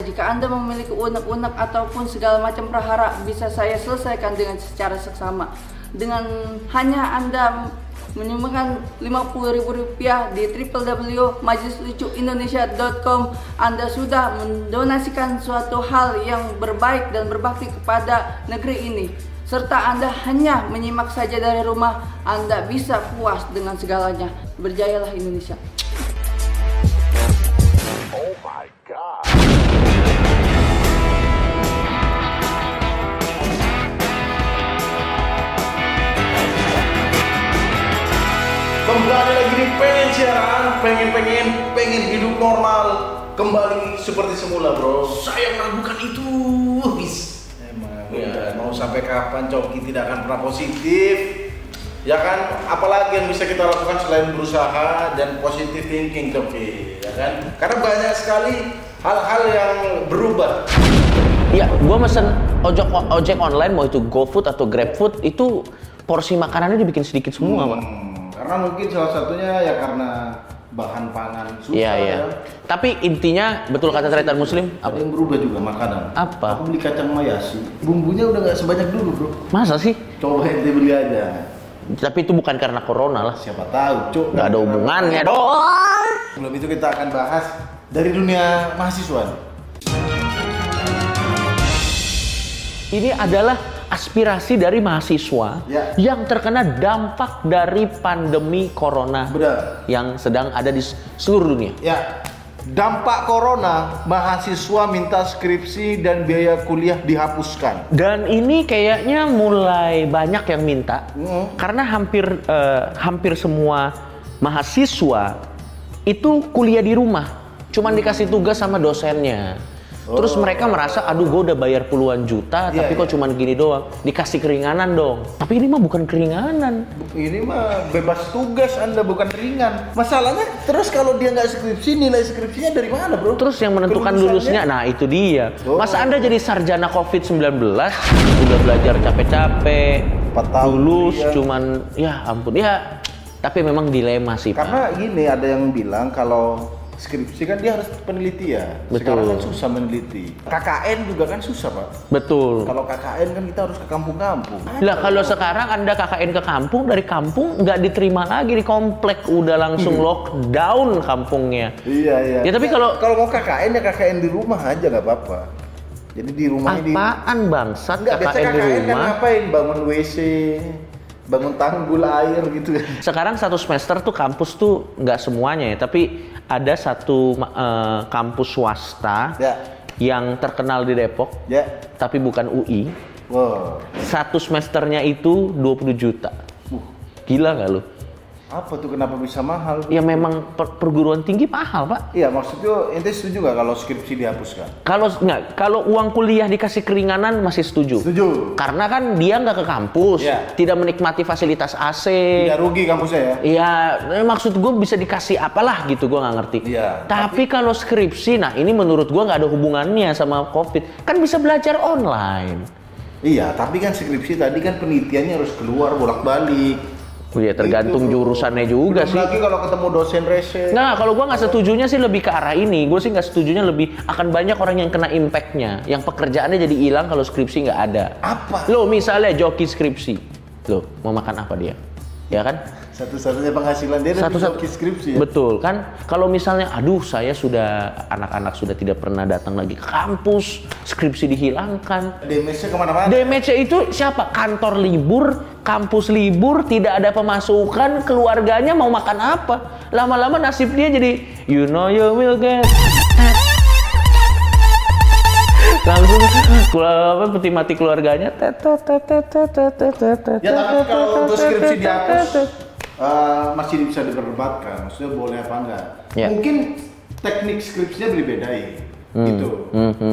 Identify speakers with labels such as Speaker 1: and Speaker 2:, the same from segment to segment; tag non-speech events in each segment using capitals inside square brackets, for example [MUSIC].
Speaker 1: Jika Anda memiliki unek-unek ataupun segala macam prahara, bisa saya selesaikan dengan secara seksama. Dengan hanya Anda menyumbangkan Rp50.000 di www.majelislucuindonesia.com Anda sudah mendonasikan suatu hal yang berbaik dan berbakti kepada negeri ini serta Anda hanya menyimak saja dari rumah Anda bisa puas dengan segalanya berjayalah Indonesia
Speaker 2: Oh my God.
Speaker 3: Kembali lagi di pengen siaran, pengen pengen pengen hidup normal kembali seperti semula bro. Saya meragukan itu, bis. Emang. Ya, mau sampai kapan coki tidak akan pernah positif? Ya kan, apalagi yang bisa kita lakukan selain berusaha dan positive thinking coki, ya kan? Karena banyak sekali hal-hal yang berubah.
Speaker 4: Iya, gua mesen ojek ojek online mau itu GoFood atau GrabFood itu porsi makanannya dibikin sedikit semua, Pak. Iya,
Speaker 3: Hmm, karena mungkin salah satunya ya karena bahan pangan susah
Speaker 4: Iya, iya.
Speaker 3: ya.
Speaker 4: Tapi intinya betul kata Tretan Muslim
Speaker 3: Ada
Speaker 4: apa?
Speaker 3: yang berubah juga makanan.
Speaker 4: Apa?
Speaker 3: Aku beli kacang mayasi. Bumbunya udah nggak sebanyak dulu, bro.
Speaker 4: Masa sih?
Speaker 3: Coba ente beli aja.
Speaker 4: Tapi itu bukan karena corona lah.
Speaker 3: Siapa tahu, cok.
Speaker 4: Gak ada hubungannya dong.
Speaker 3: Sebelum itu kita akan bahas dari dunia mahasiswa.
Speaker 4: Ini adalah aspirasi dari mahasiswa
Speaker 3: Ya.
Speaker 4: yang terkena dampak dari pandemi corona
Speaker 3: Benar.
Speaker 4: yang sedang ada di s- seluruh dunia.
Speaker 3: Ya, dampak corona, mahasiswa minta skripsi dan biaya kuliah dihapuskan.
Speaker 4: Dan ini kayaknya mulai banyak yang minta
Speaker 3: Mm.
Speaker 4: karena hampir eh, hampir semua mahasiswa itu kuliah di rumah, cuman dikasih tugas sama dosennya. Terus mereka merasa, aduh gue udah bayar puluhan juta,
Speaker 3: Oh. Iya,
Speaker 4: tapi kok
Speaker 3: iya.
Speaker 4: cuman gini doang. Dikasih keringanan dong. Tapi ini mah bukan keringanan.
Speaker 3: Ini mah bebas tugas Anda bukan ringan. Masalahnya terus kalau dia nggak skripsi, nilai skripsinya dari mana, Bro?
Speaker 4: Terus yang menentukan lulusnya, nah
Speaker 3: Kelulusannya?
Speaker 4: itu dia.
Speaker 3: Oh.
Speaker 4: Mas Anda jadi sarjana COVID-19, udah belajar capek-capek,
Speaker 3: Empat tahun iya.
Speaker 4: lulus
Speaker 3: kuliah.
Speaker 4: cuman ya ampun ya. Tapi memang dilema sih, Pak.
Speaker 3: Karena gini ada yang bilang kalau skripsi kan dia harus penelitian.
Speaker 4: Betul.
Speaker 3: Sekarang kan susah meneliti. KKN juga kan susah pak.
Speaker 4: Betul.
Speaker 3: Kalau KKN kan kita harus ke kampung-kampung.
Speaker 4: Lah kalau sekarang Anda KKN ke kampung, dari kampung nggak diterima lagi di komplek, udah langsung
Speaker 3: Hmm.
Speaker 4: lockdown kampungnya.
Speaker 3: Iya iya.
Speaker 4: Ya, tapi kalau-
Speaker 3: kalau mau KKN ya KKN di rumah aja nggak apa-apa. Jadi di rumah ini.
Speaker 4: Apaan bangsat
Speaker 3: Enggak,
Speaker 4: KKN
Speaker 3: biasanya
Speaker 4: di
Speaker 3: KKN kan
Speaker 4: rumah?
Speaker 3: ngapain? Bangun WC, bangun tanggul air gitu [LAUGHS] kan.
Speaker 4: Sekarang satu semester tuh kampus tuh nggak semuanya ya, tapi ada satu ma- eh, kampus swasta
Speaker 3: Ya.
Speaker 4: yang terkenal di Depok,
Speaker 3: Ya.
Speaker 4: tapi bukan UI.
Speaker 3: Wow.
Speaker 4: Satu semesternya itu 20 juta.
Speaker 3: Uh,
Speaker 4: Gila nggak lu?
Speaker 3: apa tuh kenapa bisa mahal?
Speaker 4: Ya memang per- perguruan tinggi mahal, Pak.
Speaker 3: Iya maksudnya ente setuju nggak kalau skripsi dihapuskan?
Speaker 4: Kalau nggak, kalau uang kuliah dikasih keringanan masih setuju.
Speaker 3: Setuju.
Speaker 4: Karena kan dia nggak ke kampus,
Speaker 3: Iya.
Speaker 4: tidak menikmati fasilitas AC.
Speaker 3: Tidak rugi kampusnya ya?
Speaker 4: Ya, eh, maksud gue bisa dikasih apalah gitu, gue nggak ngerti.
Speaker 3: Iya,
Speaker 4: Tapi, kalau skripsi, nah ini menurut gue nggak ada hubungannya sama COVID. Kan bisa belajar online.
Speaker 3: Iya, tapi kan skripsi tadi kan penelitiannya harus keluar bolak-balik.
Speaker 4: Ya tergantung
Speaker 3: Itu, bro.
Speaker 4: jurusannya juga
Speaker 3: Belum
Speaker 4: sih.
Speaker 3: Lagi kalau ketemu dosen rese.
Speaker 4: Nah, kalau gue nggak setujunya sih lebih ke arah ini. Gue sih nggak setujunya lebih akan banyak orang yang kena impactnya, yang pekerjaannya jadi hilang kalau skripsi nggak ada.
Speaker 3: Apa?
Speaker 4: Lo misalnya joki skripsi, lo mau makan apa dia? Ya kan?
Speaker 3: Satu-satunya penghasilan dia dari Kan joki skripsi ya.
Speaker 4: Betul kan? Kalau misalnya, aduh saya sudah anak-anak sudah tidak pernah datang lagi ke kampus, skripsi dihilangkan,
Speaker 3: Damage-nya kemana-mana.
Speaker 4: DMC itu siapa? Kantor libur, kampus libur, tidak ada pemasukan, keluarganya mau makan apa? Lama-lama nasib dia jadi you know you will get langsung keluar apa peti mati keluarganya tet tet tet tet tet tet tet tet tet
Speaker 3: ya
Speaker 4: tet,
Speaker 3: tapi
Speaker 4: tet,
Speaker 3: kalau untuk
Speaker 4: tet,
Speaker 3: skripsi
Speaker 4: tet,
Speaker 3: dihapus
Speaker 4: tet, tet.
Speaker 3: eh, masih bisa diperdebatkan. Maksudnya boleh apa enggak?
Speaker 4: Ya. Hmm.
Speaker 3: Mungkin teknik skripsinya berbeda gitu.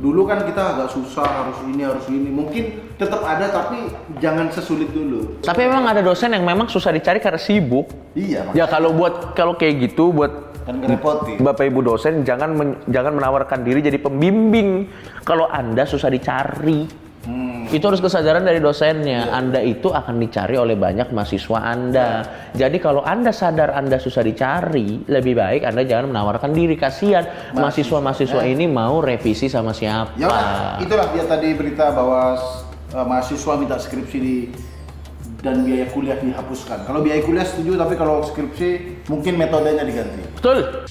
Speaker 3: Dulu kan kita agak susah harus ini harus ini. Mungkin tetap ada tapi jangan sesulit dulu.
Speaker 4: tapi memang ada dosen yang memang susah dicari karena sibuk
Speaker 3: Iya,
Speaker 4: ya kalau buat kalau kayak gitu buat
Speaker 3: kan ngerepotin.
Speaker 4: Bapak Ibu dosen jangan men- jangan menawarkan diri jadi pembimbing kalau Anda susah dicari.
Speaker 3: Hmm. Iya.
Speaker 4: Itu harus kesadaran dari dosennya. Anda itu akan dicari oleh banyak mahasiswa Anda. Jadi kalau Anda sadar Anda susah dicari, lebih baik Anda jangan menawarkan diri. Kasihan mahasiswa-mahasiswa ini mau revisi sama siapa.
Speaker 3: Eh. Ya udah, itulah dia tadi berita bahwa eh, mahasiswa minta skripsi di dan biaya kuliah dihapuskan. Kalau biaya kuliah setuju, tapi kalau skripsi mungkin metodenya diganti.
Speaker 4: Betul.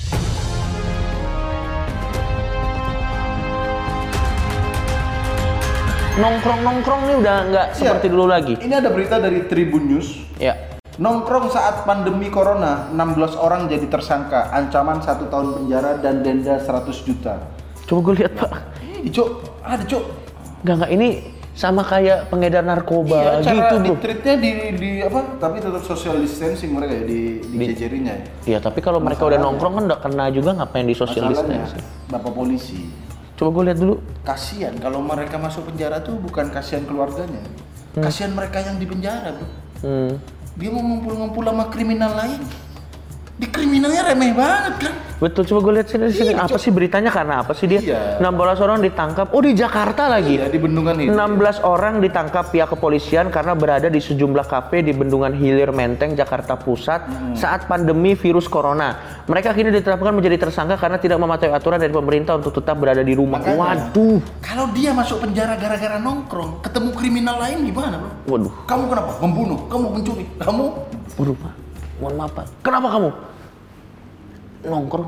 Speaker 4: Nongkrong-nongkrong nih udah nggak seperti
Speaker 3: Iya.
Speaker 4: dulu lagi.
Speaker 3: Ini ada berita dari Tribun News.
Speaker 4: Ya.
Speaker 3: Nongkrong saat pandemi corona, 16 orang jadi tersangka, ancaman satu tahun penjara dan denda 100 juta.
Speaker 4: Coba gue lihat pak.
Speaker 3: Ih, Cuk, ada Cuk.
Speaker 4: Nggak nggak ini sama kayak pengedar narkoba
Speaker 3: Iya, cara
Speaker 4: gitu bro.
Speaker 3: ditreatnya di, di apa? Tapi tetap social distancing mereka ya di di,
Speaker 4: Di-
Speaker 3: jejerinya ya.
Speaker 4: Iya tapi kalau mereka udah
Speaker 3: Masalahnya.
Speaker 4: nongkrong kan udah kena juga ngapain di social
Speaker 3: Masalahnya,
Speaker 4: distancing.
Speaker 3: Bapak polisi,
Speaker 4: Coba gue lihat dulu.
Speaker 3: kasihan kalau mereka masuk penjara tuh bukan kasihan keluarganya. Kasihan mereka yang di penjara, Bro.
Speaker 4: Hmm.
Speaker 3: Dia mau ngumpul-ngumpul sama kriminal lain. Di kriminalnya remeh banget kan?
Speaker 4: Betul, coba gue lihat sini, sini. apa sih beritanya karena apa sih dia?
Speaker 3: Iya.
Speaker 4: 16 orang ditangkap. Oh, di Jakarta lagi.
Speaker 3: Iya, di bendungan ini.
Speaker 4: 16 orang ditangkap pihak kepolisian karena berada di sejumlah kafe di Bendungan Hilir Menteng, Jakarta Pusat
Speaker 3: Hmm.
Speaker 4: saat pandemi virus corona. Mereka kini ditetapkan menjadi tersangka karena tidak mematuhi aturan dari pemerintah untuk tetap berada di rumah.
Speaker 3: Makanya.
Speaker 4: Waduh.
Speaker 3: Kalau dia masuk penjara gara-gara nongkrong, ketemu kriminal lain gimana, Bro?
Speaker 4: Waduh.
Speaker 3: Kamu kenapa? Membunuh, kamu mencuri, kamu
Speaker 4: Waduh, Pak. Mohon maaf, Pak. Kenapa kamu? Nongkrong.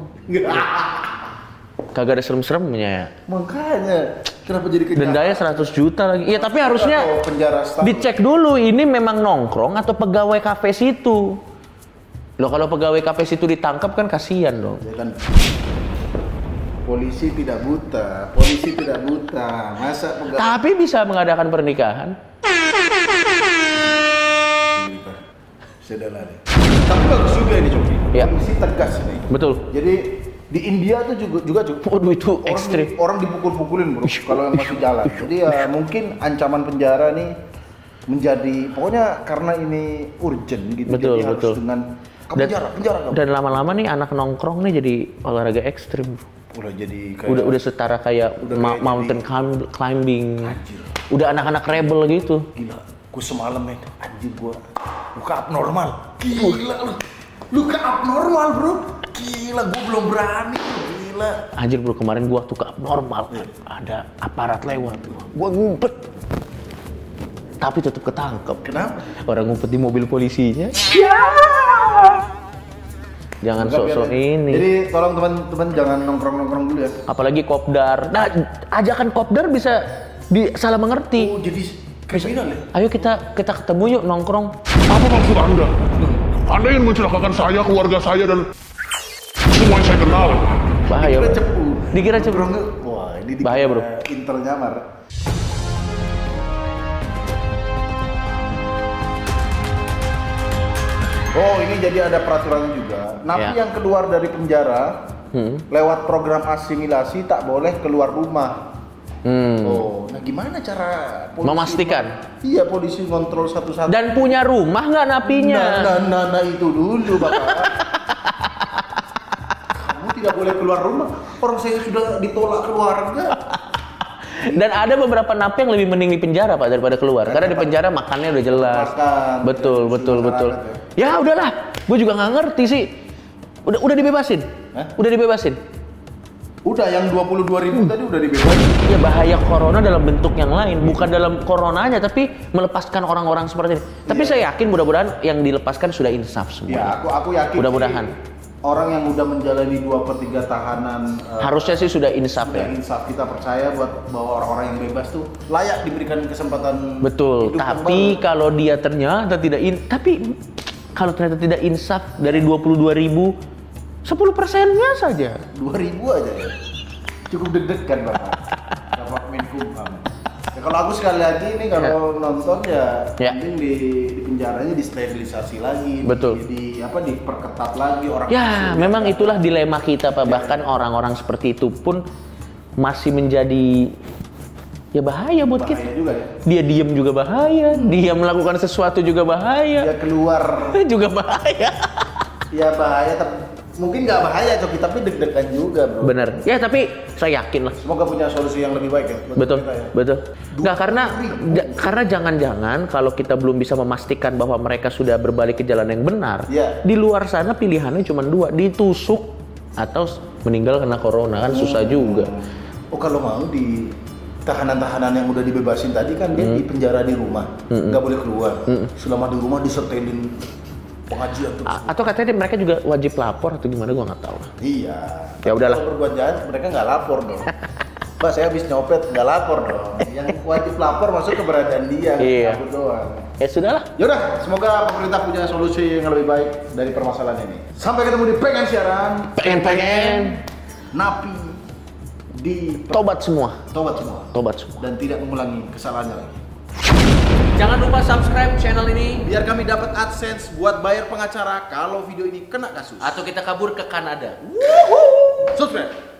Speaker 4: Kagak ada serem-seremnya ya.
Speaker 3: [LAUGHS] makanya kenapa jadi kejar?
Speaker 4: Dendanya 100 juta lagi. Iya, tapi harusnya
Speaker 3: Atau penjara status.
Speaker 4: dicek dulu ini memang nongkrong atau pegawai kafe situ. Loh kalau pegawai kafe situ ditangkap kan kasihan dong.
Speaker 3: Ya kan? Polisi tidak buta, polisi tidak buta. Masa pegawai
Speaker 4: Tapi bisa mengadakan pernikahan.
Speaker 3: kita? Sudahlah deh. Tapi bagus juga ini, Coki.
Speaker 4: Iya.
Speaker 3: Polisi tegas nih.
Speaker 4: Betul.
Speaker 3: Jadi di India tuh juga juga Cuk.
Speaker 4: Waduh itu
Speaker 3: Orang-
Speaker 4: ekstrim.
Speaker 3: Orang dipukul-pukulin bro, kalau yang masih jalan. Jadi ya mungkin ancaman penjara nih menjadi pokoknya karena ini urgent gitu.
Speaker 4: Betul,
Speaker 3: jadi
Speaker 4: betul.
Speaker 3: harus dengan "Kamu
Speaker 4: Dan-
Speaker 3: penjara, penjara kamu.
Speaker 4: Dan lama-lama nih anak nongkrong nih jadi olahraga ekstrim. bro.
Speaker 3: udah jadi kayak
Speaker 4: Udah udah setara kayak
Speaker 3: Udah
Speaker 4: ma-
Speaker 3: kayak
Speaker 4: mountain climb- climbing. Udah anak-anak rebel gitu.
Speaker 3: gila. Gue semalam men, anjir gua luka abnormal. Gila lu. Luka abnormal, Bro. Gila, gua belum berani. Gila.
Speaker 4: Anjir bro kemarin gua tuh abnormal ada aparat lewat gua ngumpet tapi tetap ketangkep
Speaker 3: Kenapa?
Speaker 4: orang ngumpet di mobil polisinya jangan
Speaker 3: Ya! Enggak, biar
Speaker 4: sok-sok
Speaker 3: aja. Jadi
Speaker 4: ini
Speaker 3: tolong teman-teman jangan nongkrong-nongkrong dulu ya.
Speaker 4: apalagi kopdar nah ajakan kopdar bisa disalah mengerti
Speaker 3: Oh, jadi kriminal ya?
Speaker 4: ayo kita kita ketemu yuk nongkrong
Speaker 5: Apa maksud Anda? Anda ingin mencelakakan saya, keluarga saya, dan semua yang saya kenal.
Speaker 4: bahaya
Speaker 3: Dikira
Speaker 4: Iya, bro.
Speaker 3: cepu.
Speaker 4: dikira cepu
Speaker 3: Nongkrong tuh, Wah, ini dikira
Speaker 4: Bahaya, bro.
Speaker 3: Intel nyamar. Oh, ini jadi ada peraturan juga. Napi
Speaker 4: Ya. Hmm.
Speaker 3: yang keluar dari penjara lewat program asimilasi tak boleh keluar rumah.
Speaker 4: Hmm.
Speaker 3: Oh, nah gimana cara polisi-
Speaker 4: memastikan
Speaker 3: Iya, polisi kontrol satu-satu.
Speaker 4: dan punya rumah nggak napinya
Speaker 3: Nah, nah, nah, nah, itu dulu, Bapak. Kamu tidak boleh keluar rumah. Orang saya sudah ditolak keluarga.
Speaker 4: Dan ada beberapa napi yang lebih mending di penjara pak daripada keluar. Karena di penjara makannya udah jelas.
Speaker 3: Makan, gitu
Speaker 4: betul,
Speaker 3: terus
Speaker 4: betul, betul.
Speaker 3: masyarakat
Speaker 4: Ya udahlah, gue juga nggak ngerti sih. Udah, udah dibebasin.
Speaker 3: Hah?
Speaker 4: Udah dibebasin.
Speaker 3: Udah yang 22.000 ribu tadi udah dibebas.
Speaker 4: Ya bahaya corona dalam bentuk yang lain, bukan dalam coronanya, tapi melepaskan orang-orang seperti ini. Tapi saya yakin mudah-mudahan yang dilepaskan sudah insaf
Speaker 3: Ya,
Speaker 4: semua.
Speaker 3: Iya. aku aku yakin.
Speaker 4: Mudah-mudahan.
Speaker 3: sih, Orang yang udah menjalani dua per tiga tahanan eh,
Speaker 4: Harusnya sih sudah insaf
Speaker 3: sudah
Speaker 4: ya.
Speaker 3: insaf kita percaya buat bahwa orang-orang yang bebas tuh layak diberikan kesempatan
Speaker 4: Betul.
Speaker 3: hidup
Speaker 4: tapi
Speaker 3: kembali.
Speaker 4: kalau dia ternyata tidak in, tapi kalau ternyata tidak insaf dari 22.000 ribu, 10 persennya saja.
Speaker 3: 2000 aja ya. Cukup deg-degan Bapak. Bapak Menkumham. Ya, kalau aku sekali lagi ini kalau nonton ya
Speaker 4: Ya.
Speaker 3: mending di, di penjaranya disterilisasi lagi,
Speaker 4: Betul.
Speaker 3: di, di- apa diperketat lagi orang.
Speaker 4: Ya,
Speaker 3: masuk.
Speaker 4: memang itulah dilema kita, Pak. Bahkan orang-orang seperti itu pun masih menjadi ya bahaya buat kita.
Speaker 3: bahaya juga ya.
Speaker 4: Dia diam juga bahaya, dia melakukan sesuatu juga bahaya, [LAUGHS]
Speaker 3: Dia keluar
Speaker 4: juga bahaya.
Speaker 3: ya bahaya tapi mungkin nggak bahaya coki tapi deg-degan juga bro
Speaker 4: Bener. Ya tapi saya yakin lah.
Speaker 3: semoga punya solusi yang lebih baik ya buat
Speaker 4: Betul,
Speaker 3: kita ya.
Speaker 4: betul. Nggak karena ja- karena jangan-jangan kalau kita belum bisa memastikan bahwa mereka sudah berbalik ke jalan yang benar,
Speaker 3: Iya.
Speaker 4: di luar sana pilihannya cuma dua, ditusuk atau s- meninggal karena corona kan susah juga.
Speaker 3: oh kalau mau di tahanan-tahanan yang udah dibebasin tadi kan
Speaker 4: Hmm.
Speaker 3: dia di penjara di rumah nggak boleh keluar selama di rumah disetelin pengajian tuh
Speaker 4: A- atau katanya dia- mereka juga wajib lapor atau gimana gua nggak tahu.
Speaker 3: iya
Speaker 4: Ya
Speaker 3: Tapi
Speaker 4: udahlah.
Speaker 3: kalau berbuat jahat mereka nggak lapor dong Mbak saya habis nyopet nggak lapor dong yang wajib lapor masuk keberadaan dia
Speaker 4: Iya.
Speaker 3: kabur doang
Speaker 4: Ya sudahlah.
Speaker 3: Yaudah, semoga pemerintah punya solusi yang lebih baik dari permasalahan ini. Sampai ketemu di pengen siaran,
Speaker 4: Pengen-pengen
Speaker 3: napi di
Speaker 4: tobat semua,
Speaker 3: tobat semua
Speaker 4: tobat semua.
Speaker 3: dan tidak mengulangi kesalahannya lagi.
Speaker 4: Jangan lupa subscribe channel ini
Speaker 3: Biar kami dapat AdSense buat bayar pengacara kalau video ini kena kasus.
Speaker 4: atau kita kabur ke Kanada.
Speaker 3: Subscribe.